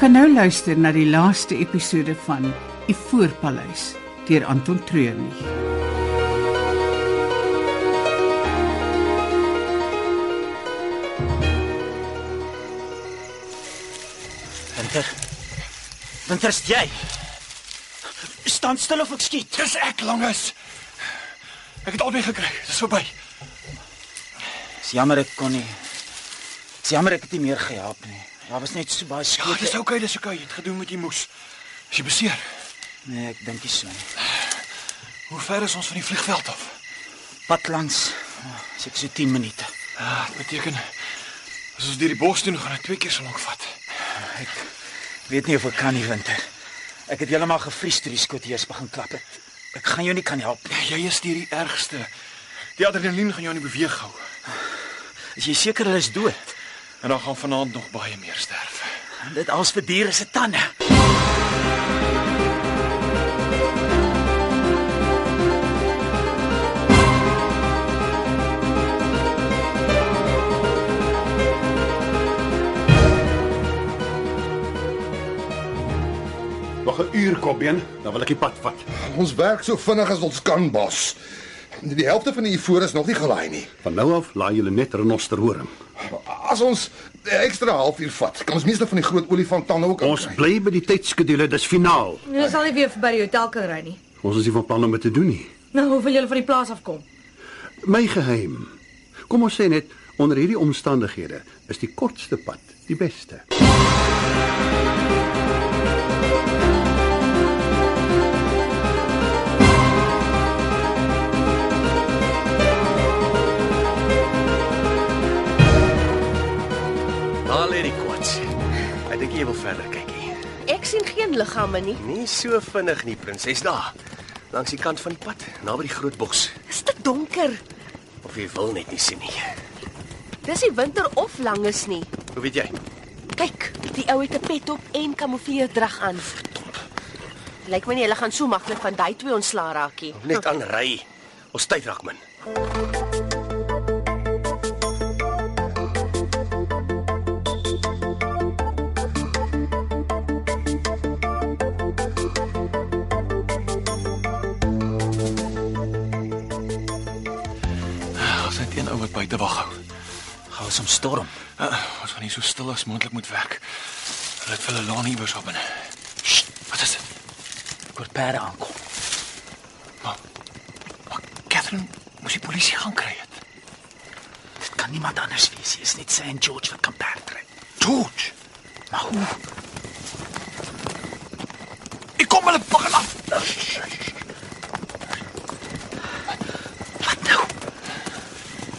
gaan nou luister na die laaste episode van Ivoorpaleis deur Anton Treurnig. Winter. Winter, is jy? Staan stil of ek skiet. Dis ek langes. Ek het albei gekry. Dis verby. Dis jammer ek kon nie. Dis jammer ek het nie meer gehelp nie. Daar was net so baie Ja, skiet. dis oukei, dis oukei. Jy het gedoen wat jy moes. As jy beseer, Nee, ek dink nie so nie. hoe ver is ons van die vliegveld af? Pad langs. Seker so 10 minute. Ja, dit beteken as ons deur die bos toe gaan, dit twee keer so lank vat. Ek weet nie of ek kan nie, Winter. Ek het heeltemal gevries toe die skot eers begin klap het. Ek gaan jou nie kan help nie. Jy is hierdie ergste. Die adrenalien gaan jou nie beweeg hou. Is jy seker hulle is dood? En dan gaan vanaand nog baie meer sterf. Dit als vir diere se tande. Nog 'n uur kopbeen, dan wil ek die pad vat. Ons werk so vinnig as ons kan, bos. Die helfte van die ivoor is nog nie gelaai nie. Van nou af laai julle net renosterhoring. As ons 'n ekstra halfuur vat, kan ons meeste van die groot olifant dan ook Ons bly by die tydskedule, dis finaal. Nou sal jy weer by die hotel kan ry nie. Ons is nie van plan om dit te doen nie. Nou hoe wil julle van die plaas afkom? My geheim. Kom ons sê net onder hierdie omstandighede is die kortste pad die beste. Al hierdie kwats. Ek dink jy wil verder kyk hier. Ek sien geen liggame nie. Nie so vinnig nie, prinses. Daar. Langs die kant van die pad, naby die groot bos. Is dit donker? Of jy wil net nie sien nie. Dis nie winter of lang is nie. Hoe weet jy? Kyk, die ou het 'n pet op en kamoufleerdrag aan. Lyk my nie hulle gaan so maklik van daai twee ontslaa raak nie. Net aan ry. Ons tyd raak min. Ons het een ou wat buite wag hou. Gaan ons om storm. Uh, ons gaan nie so stil as moontlik moet werk. Hulle het hulle laan iewers op binne. Sst, wat is dit? Kort perde aankom. Maar, maar Catherine, moes die polisie gaan kry het. Dit kan niemand anders wees nie. Dit is net St. George wat kan perd ry. George, Maar hoe? ek kom hulle begin af. Wat nou?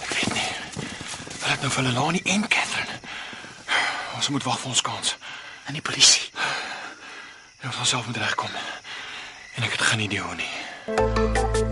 Ek weet nie. Hulle het nou vir Lelani en Catherine. Ons moet wag vir ons kans. En die polisie. En ons gaan self moet regkom. En ek het geen idee hoe nie.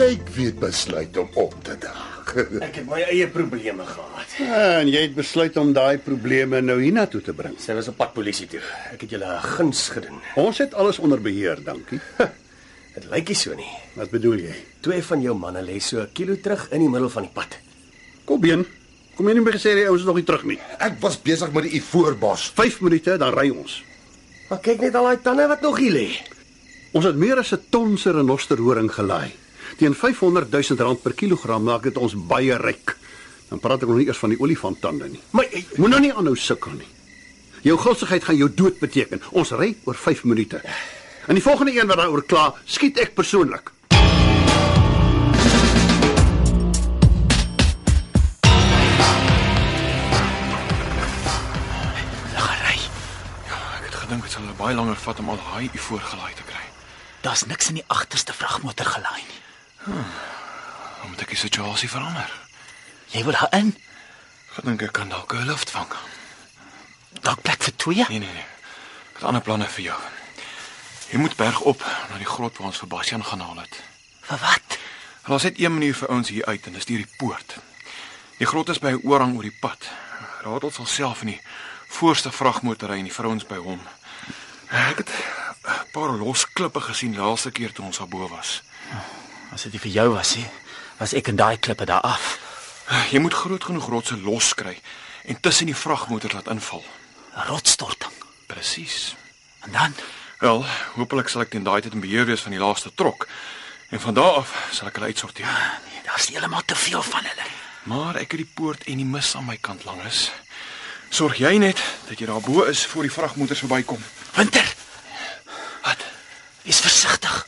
kyk wie het besluit om op te daag. Ek het my eie probleme gehad. Ja, En jy het besluit om daai probleme nou hiernatoe te bring. Sy was op pad polisie toe. Ek het julle 'n guns gedoen. Ons het alles onder beheer, dankie. Dit lyk nie so nie. Wat bedoel jy? Twee van jou manne lê so 'n kilo terug in die middel van die pad. Kopbeen. Kom jy nie meer gesê die ouens is nog nie terug nie. Ek was besig met die ivoorbos. 5 minute dan ry ons. Maar kyk net al daai tande wat nog hier lê. Ons het meer as 'n ton se renosterhoring gelaai. Teen 500 000 rand per kilogram maak dit ons baie ryk. Dan praat ek nog nie eers van die olifanttande nie. Maar Moet nou nie aanhou sukkel nie. Jou gulsigheid gaan jou dood beteken. Ons ry oor 5 minute. En die volgende een wat daaroor kla, skiet ek persoonlik. Lagery. Ek het gedink dit sal hulle baie langer vat om al daai ivoor gelaai te kry. Daar's niks in die agterste vragmotor gelaai nie. Dan moet ek die situasie verander. Jy wil daar in? Gedink ek kan dalk 'n lift vang. Dalk plek vir twee? Nee, nee, nee. Ek het ander planne vir jou. Jy moet berg op na die grot waar ons vir Bastian gaan haal het. Vir wat? En Ons het een manier vir ons hier uit en dis deur die poort. Die grot is by 'n oorhang oor die pad. Radel sal self in die voorste vragmotor ry en die vrouens by hom. Ek het 'n paar los klippe gesien laaste keer toe ons daarbo was. As dit nie vir jou was nie, was ek en daai klippe daar af. Jy moet groot genoeg rotse los kry en tussen die vragmotor laat inval. 'n Rotstorting. Presies. En dan Wel, hopelik sal ek teen daai tyd in beheer wees van die laaste trok. En van daar af sal ek hulle uitsorteer. nee, daar's heeltemal te veel van hulle. Maar ek het die poort en die mis aan my kant langs. Sorg jy net dat jy daarbo is voor die vragmotors verbykom. Winter. Wat? Wees versigtig.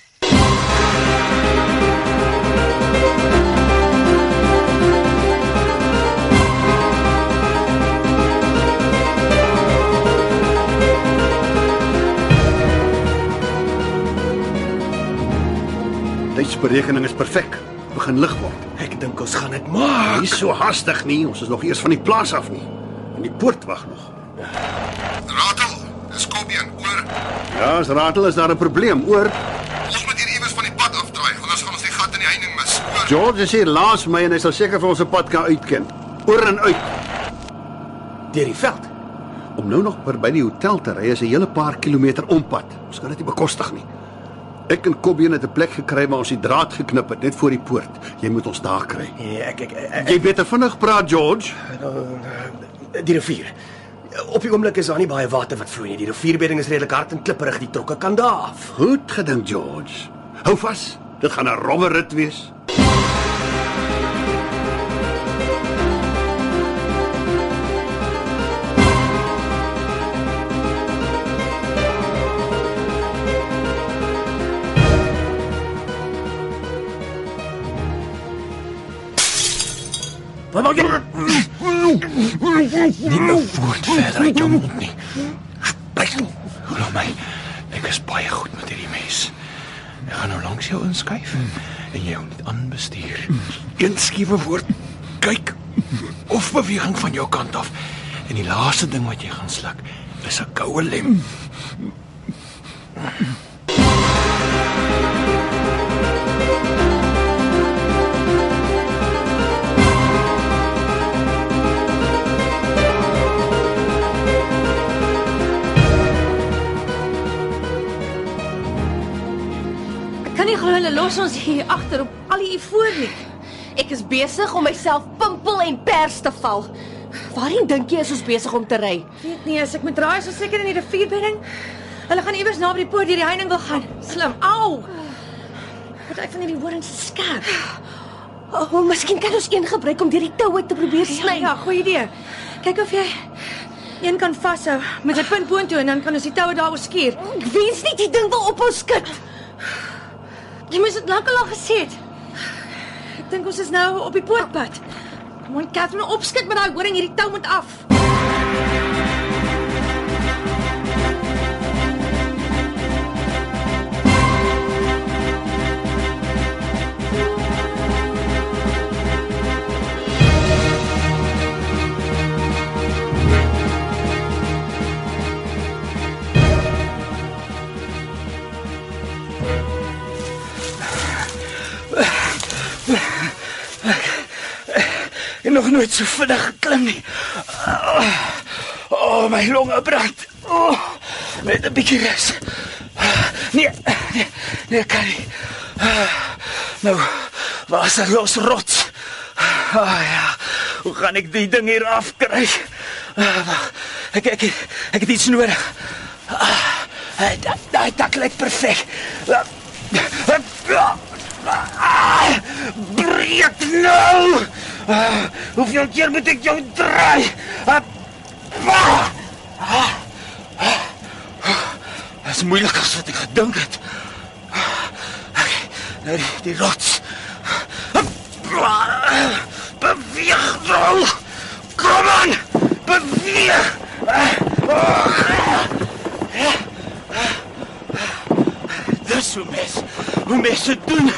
Tydsberekening is perfek. Begin lig word. Ek dink ons gaan dit maak. Nie so haastig nie, ons is nog eers van die plaas af nie. En die poort wag nog. Ratel, dis Kobbeen, oor. Ja, as ratel is daar 'n probleem. Oor Ons moet hier iewers van die pad afdraai, anders gaan ons die gat in die heining mis. Oor. George is hier laas my en hy sal seker vir ons 'n pad kan uitken. Oor en uit. Deur die veld. Om nou nog per by die hotel te ry is 'n hele paar kilometer ompad. Ons kan dit nie bekostig nie. Ek en Kobbeen het 'n plek gekry waar ons die draad geknip het net voor die poort. Jy moet ons daar kry. Nee, ek ek, ek, Jy beter vinnig praat, George. ek Eh, die rivier. Op die oomblik is daar nie baie water wat vloei nie. Die rivierbedding is redelik hard en klipperig. Die trokke kan daar af. Goed gedink, George. Hou vas. Dit gaan 'n rowwe rit wees. Wat maak jy? Nie nou voort verder uit jou mond nie. Bly. Glo nou my. Ek is baie goed met hierdie mes. Ek gaan nou langs jou inskuif en jou net aanbestuur. Een skiewe woord, kyk of beweging van jou kant af. En die laaste ding wat jy gaan sluk is 'n koue lem. Ek kan nie glo hulle los ons hier agter op al die ivoor nie. Ek is besig om myself pimpel en pers te val. Waarheen dink jy is ons besig om te ry? Weet nie as ek moet draai is ons seker in die rivierbedding. Hulle gaan iewers naby die poort deur die heining wil gaan. Slim. Au. Wat ek van hierdie horings is skerp. O, oh, miskien kan ons een gebruik om deur die toue te probeer Ja, sny. ja, goeie idee. Kyk of jy een kan vashou met 'n punt boontoe en dan kan ons die toue daaroor skuur. Ek wens nie die ding wil op ons skud. Jy moes dit lankal al gesê het. Ek dink ons is nou op die poortpad. Kom aan, Katherine, opskik met daai horing, hierdie tou moet af. Ek het nog nooit so vinnig geklim nie. O, oh, my longe brand. O, oh, net 'n bietjie rus. Nee, nee, nee, kan nie. Nou, was er los rots. O oh, ja, hoe gaan ek die ding hier afkry? Ah, wag, Ek ek ek het iets nodig. Ah, Daai daai tak lyk perfek. Ah, ah, ah, Breek nou! Ah, Hoeveel keer moet ek jou draai? Ah, ah, ah, ah. Dit is moeiliker as wat ek gedink het. Okay, nou die, die rots. Ah, Beweeg nou! Kom aan! Beweeg! Ah, ah. Dis eh. hoe mens, hoe mens dit doen.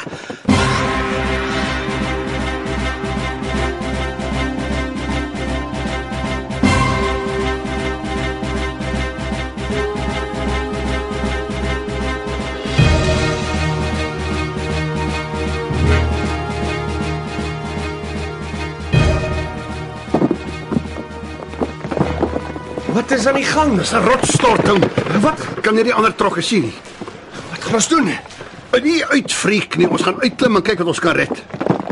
Wat is aan die gang? Dis 'n rotstorting. Wat Kan jy die ander trokke sien nie? wat gaan ons doen? En nie uitvreek nie. Nee, Ons gaan uitklim en kyk wat ons kan red.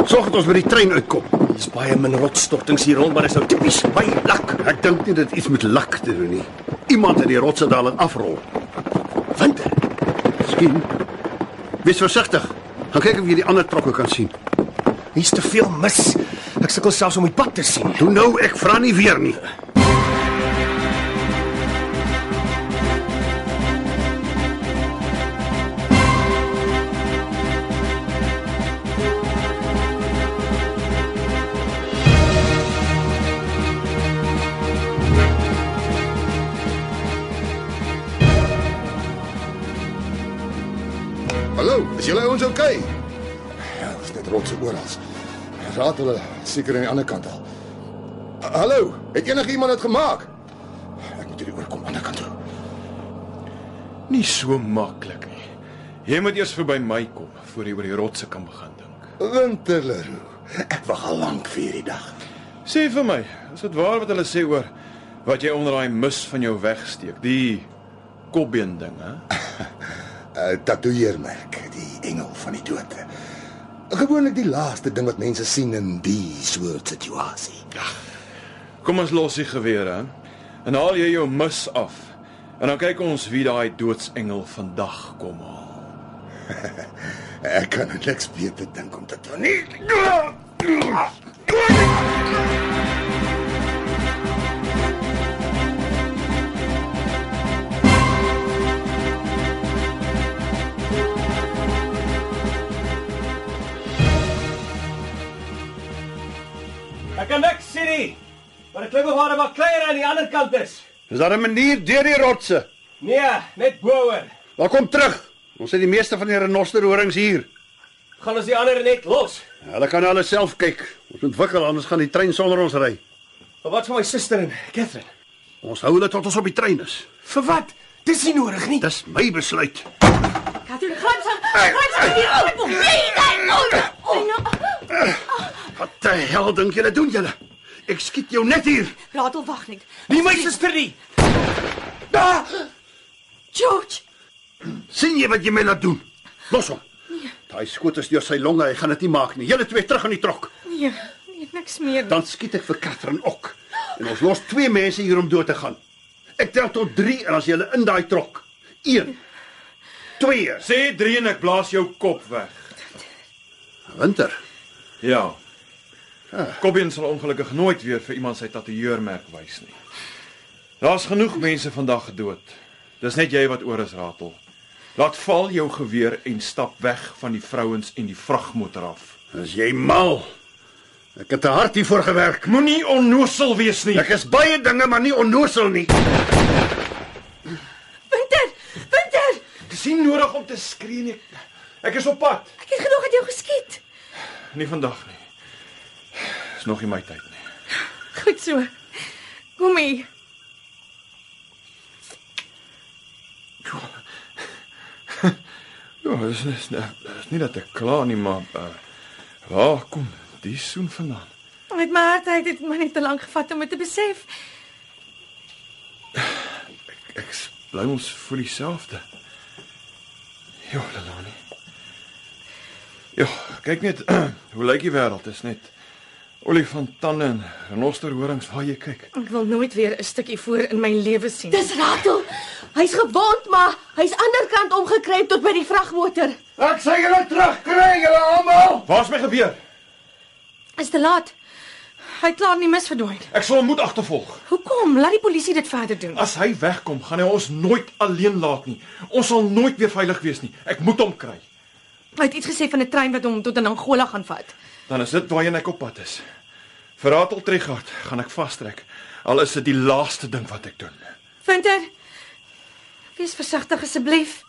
Sorg dat ons by die trein uitkom. Dis baie min rotsstortings hier rond, maar dis nou tipies my lak. Ek dink nie dit iets met lak te doen nie. Iemand het die rotse daal en afrol. Winter. Skien. Wees versigtig. Gaan kyk of jy die ander trokke kan sien. Hier's te veel mis. Ek sukkel selfs om die pad te sien. Doen nou, ek vra nie weer nie. Hallo, is julle ouens oukei? Okay? Ja, dis net rotse oral. Raad hulle seker aan die ander kant al. A- Hallo, het enigiemand dit gemaak? Ek moet hierdie oorkom aan die ander kant toe. Nie so maklik nie. Jy moet eers verby my kom voor jy oor die rotse kan begin dink. Winterleroe. Ek wag al lank vir hierdie dag. Sê vir my, is dit waar wat hulle sê oor wat jy onder daai mis van jou wegsteek? Die kopbeen ding, hè? 'n Tatoeëermerk, die engel van die dood. Gewoonlik die laaste ding wat mense sien in die soort situasie. Kom ons los die geweer, hè? En haal jy jou mis af. En dan kyk ons wie daai doodsengel vandag kom haal. Ek kan aan niks beter dink om te doen nie. Ek kan niks sien nie. Maar die klipbewaarder wat kleiner aan die ander kant is. Is daar 'n manier deur die rotse? Nee, net boer. Maar kom terug. Ons het die meeste van die renosterhorings hier. Gaan ons die ander net los. Hulle kan hulle self kyk. Ons moet wikkel anders gaan die trein sonder ons ry. Maar wat van my suster en Catherine? Ons hou hulle tot ons op die trein is. Vir wat? Dis nie nodig nie. Dis my besluit. Katrin, gaan sy. Gaan sy hier op. Nee, nee, nee. Wat die hel dink julle doen julle? Ek skiet jou net hier. Laat hom wag net. Nie my suster nie. Da! George, Sien jy wat jy my laat doen? Los hom. Daai skoot is deur sy longe, hy gaan dit nie maak nie. Julle twee terug aan die trok. nee, nee, niks meer. Dan skiet ek vir Katherine ook. En ons los twee mense hier om dood te gaan. Ek tel tot 3 en as jy hulle in daai trok. 1 2 Sê 3 en ek blaas jou kop weg. Winter. Ja. Kopbeen sal ongelukkig nooit weer vir iemand sy tatoeëermerk wys nie. Daar's genoeg mense vandag gedood. Dis net jy wat oor is ratel. Laat val jou geweer en stap weg van die vrouens en die vragmotor af. As jy mal. Ek het te hard hiervoor gewerk. Moenie onnosel wees nie. Ek is baie dinge, maar nie onnosel nie. Winter, Winter. Ek sien nodig om te skree nie. Ek is op pad. Ek het genoeg aan jou geskiet. Nie vandag nie. Is nog nie my tyd nie. Goed so. Kom hier. Ja, dis dis, dis nie dat ek kla nie, maar uh, waar kom die soen vandaan? Met my hart het dit my net te lank gevat om dit te besef. Ek s- bly ons voel dieselfde. Ja, Lelani. Ja, kyk net hoe lyk die wêreld. Dit is net olifantande en renosterhorings waar jy kyk. Ek wil nooit weer 'n stukkie voor in my lewe sien. Dis Ratel. Hy's gewond, maar hy's anderkant omgekruip tot by die vragmotor. Ek sê julle terugkry julle almal. Waar's my geweer? is te laat. Hy het klaar nie mis verdwyn. Ek sal hom moet agtervolg. Hoekom? Laat die polisie dit verder doen. As hy wegkom, gaan hy ons nooit alleen laat nie. Ons sal nooit weer veilig wees nie. Ek moet hom kry. Hy het iets gesê van 'n trein wat hom tot in Angola gaan vat. Dan is dit waarheen ek op pad is. Verraad al Tregard, gaan ek vastrek. Al is dit die laaste ding wat ek doen. Winter, wees versigtig asseblief.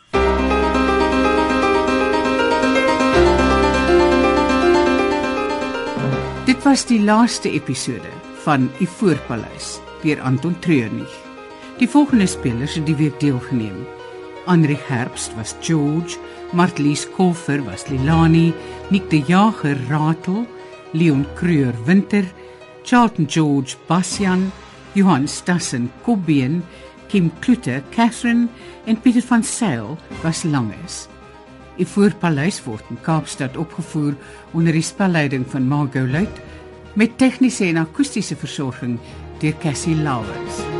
Dit was die laaste episode van Die Voorpaleis deur Anton Treurnig. Die volgende spelers het die week deelgeneem. Anri Herbst was George, Martlies Kolfer was Lilani, Nick de Jager Ratel, Leon Creur Winter, Charlton George Bastian, Johan Stassen, Kobbeen, Kim Klute, Catherine en Pieter van Sail was langes. Die voorpaleis word in Kaapstad opgevoer onder die spelleiding van Margot Luit met tegniese en akoestiese versorging deur Cassie Lawrence.